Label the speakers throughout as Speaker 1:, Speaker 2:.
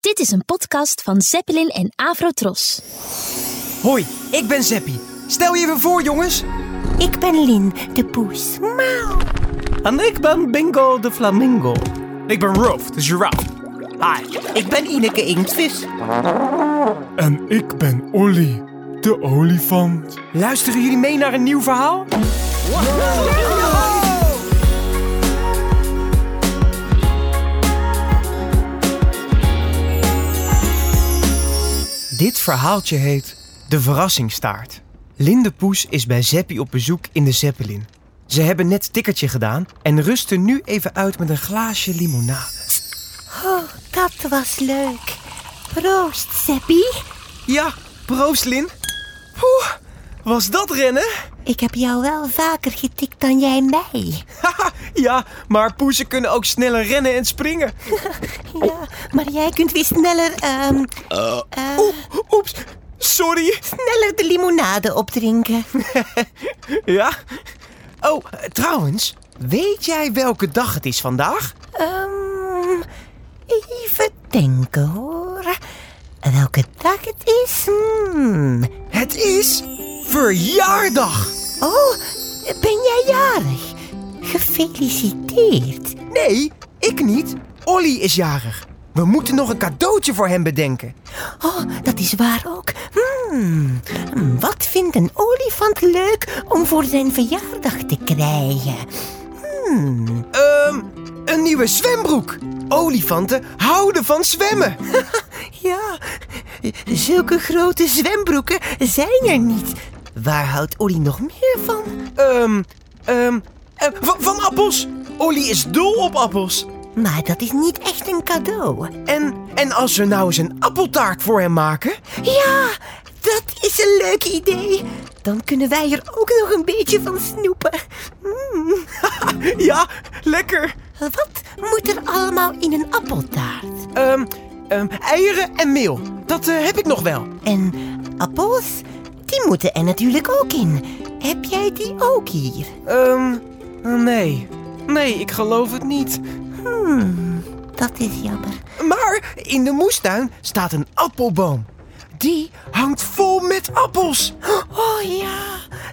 Speaker 1: Dit is een podcast van Zeppelin en Avrotros.
Speaker 2: Hoi, ik ben Zeppie. Stel je even voor, jongens.
Speaker 3: Ik ben Lin, de poes.
Speaker 4: En ik ben Bingo de Flamingo.
Speaker 5: Ik ben Roof, de giraffe.
Speaker 6: Hi, ik ben Ineke Inktvis.
Speaker 7: En ik ben Olly, de olifant.
Speaker 2: Luisteren jullie mee naar een nieuw verhaal? Wow. Wow. Dit verhaaltje heet De Verrassingstaart. Linde Poes is bij Zeppie op bezoek in de Zeppelin. Ze hebben net tikkertje gedaan en rusten nu even uit met een glaasje limonade.
Speaker 3: Oh, dat was leuk. Proost, Zeppie.
Speaker 2: Ja, proost, Lin. Oeh, was dat rennen?
Speaker 3: Ik heb jou wel vaker getikt dan jij mij.
Speaker 2: ja, maar poezen kunnen ook sneller rennen en springen.
Speaker 3: ja, maar jij kunt weer sneller... Um,
Speaker 2: uh, uh, oep, oeps, sorry.
Speaker 3: Sneller de limonade opdrinken.
Speaker 2: ja? Oh, trouwens, weet jij welke dag het is vandaag?
Speaker 3: Um, even denken hoor. Welke dag het is? Hmm.
Speaker 2: Het is verjaardag.
Speaker 3: Oh, ben jij jarig? Gefeliciteerd.
Speaker 2: Nee, ik niet. Olly is jarig. We moeten nog een cadeautje voor hem bedenken.
Speaker 3: Oh, dat is waar ook. Hmm, wat vindt een olifant leuk om voor zijn verjaardag te krijgen?
Speaker 2: Hmm. Um, een nieuwe zwembroek. Olifanten houden van zwemmen.
Speaker 3: ja, zulke grote zwembroeken zijn er niet. Waar houdt Olly nog meer van?
Speaker 2: Um, um, uh, van, van appels. Olly is dol op appels.
Speaker 3: Maar dat is niet echt een cadeau.
Speaker 2: En, en als we nou eens een appeltaart voor hem maken?
Speaker 3: Ja, dat is een leuk idee. Dan kunnen wij er ook nog een beetje van snoepen. Mm.
Speaker 2: ja, lekker.
Speaker 3: Wat moet er allemaal in een appeltaart?
Speaker 2: Um, um, eieren en meel. Dat uh, heb ik nog wel.
Speaker 3: En appels? Die moeten er natuurlijk ook in. Heb jij die ook hier?
Speaker 2: Um, nee. Nee, ik geloof het niet.
Speaker 3: Hmm, dat is jammer.
Speaker 2: Maar in de moestuin staat een appelboom. Die hangt vol met appels.
Speaker 3: Oh ja,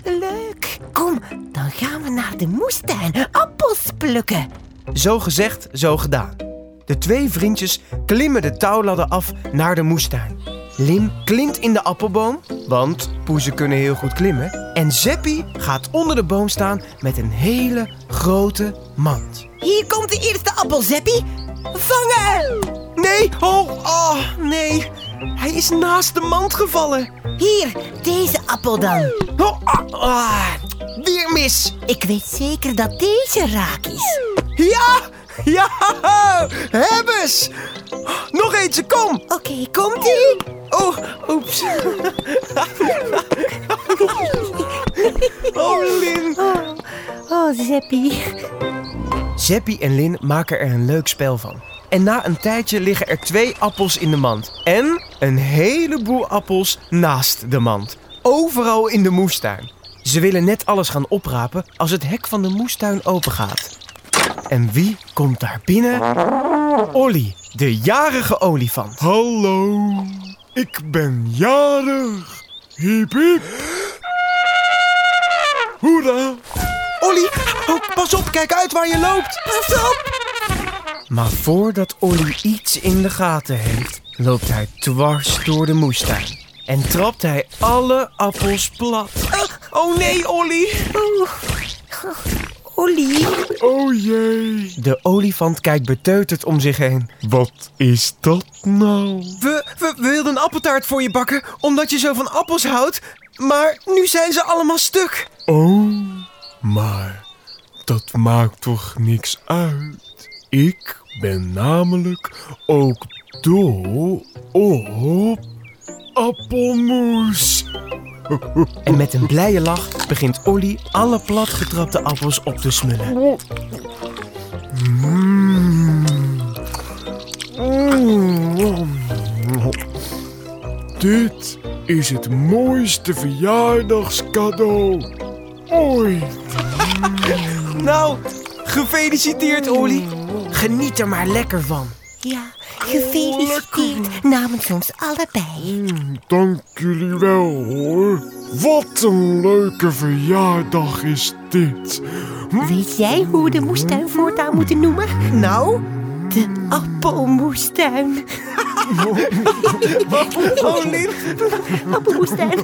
Speaker 3: leuk. Kom, dan gaan we naar de moestuin appels plukken.
Speaker 2: Zo gezegd, zo gedaan. De twee vriendjes klimmen de touwladder af naar de moestuin. Lim klimt in de appelboom, want poezen kunnen heel goed klimmen. En Zeppie gaat onder de boom staan met een hele grote mand.
Speaker 3: Hier komt de eerste appel, Zeppie. Vangen!
Speaker 2: Nee, oh, oh, nee. Hij is naast de mand gevallen.
Speaker 3: Hier, deze appel dan.
Speaker 2: Oh, ah, ah, weer mis.
Speaker 3: Ik weet zeker dat deze raak is.
Speaker 2: Ja, ja, hebbes. Nog eentje, kom.
Speaker 3: Oké, okay, komt ie.
Speaker 2: Oh, oeps. oh, Lin.
Speaker 3: Oh, oh Zeppie.
Speaker 2: Zeppie en Lin maken er een leuk spel van. En na een tijdje liggen er twee appels in de mand. En een heleboel appels naast de mand. Overal in de moestuin. Ze willen net alles gaan oprapen als het hek van de moestuin opengaat. En wie komt daar binnen? Olly, de jarige olifant.
Speaker 7: Hallo, ik ben jarig. Hiep hiep. Hoera.
Speaker 2: Olly, oh, pas op, kijk uit waar je loopt.
Speaker 3: Pas op.
Speaker 2: Maar voordat Olly iets in de gaten heeft, loopt hij dwars door de moestuin. En trapt hij alle appels plat. Oh nee, Olly.
Speaker 3: Oh. Olly.
Speaker 7: Oh jee.
Speaker 2: De olifant kijkt beteuterd om zich heen.
Speaker 7: Wat is dat nou?
Speaker 2: We, we, we wilden een appeltaart voor je bakken, omdat je zo van appels houdt. Maar nu zijn ze allemaal stuk.
Speaker 7: Oh, maar dat maakt toch niks uit? Ik ben namelijk ook dol op appelmoes.
Speaker 2: En met een blije lach begint Olly alle platgetrapte appels op te smullen.
Speaker 7: Mm. Mm. Dit is het mooiste verjaardagscadeau ooit.
Speaker 2: nou, gefeliciteerd Olly. Geniet er maar lekker van.
Speaker 3: Ja, Gefeliciteerd namens ons allebei.
Speaker 7: Dank jullie wel hoor. Wat een leuke verjaardag is dit.
Speaker 3: Weet jij hoe we de moestuin voortaan moeten noemen?
Speaker 6: Nou?
Speaker 3: De appelmoestuin.
Speaker 6: Oh, lief.
Speaker 3: Appelmoestuin.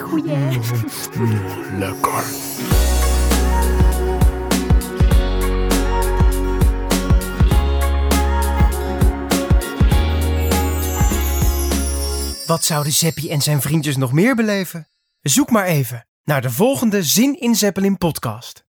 Speaker 3: Goeie. hè?
Speaker 7: Lekker.
Speaker 2: Wat zouden Zeppie en zijn vriendjes nog meer beleven? Zoek maar even naar de volgende Zin in Zeppelin podcast.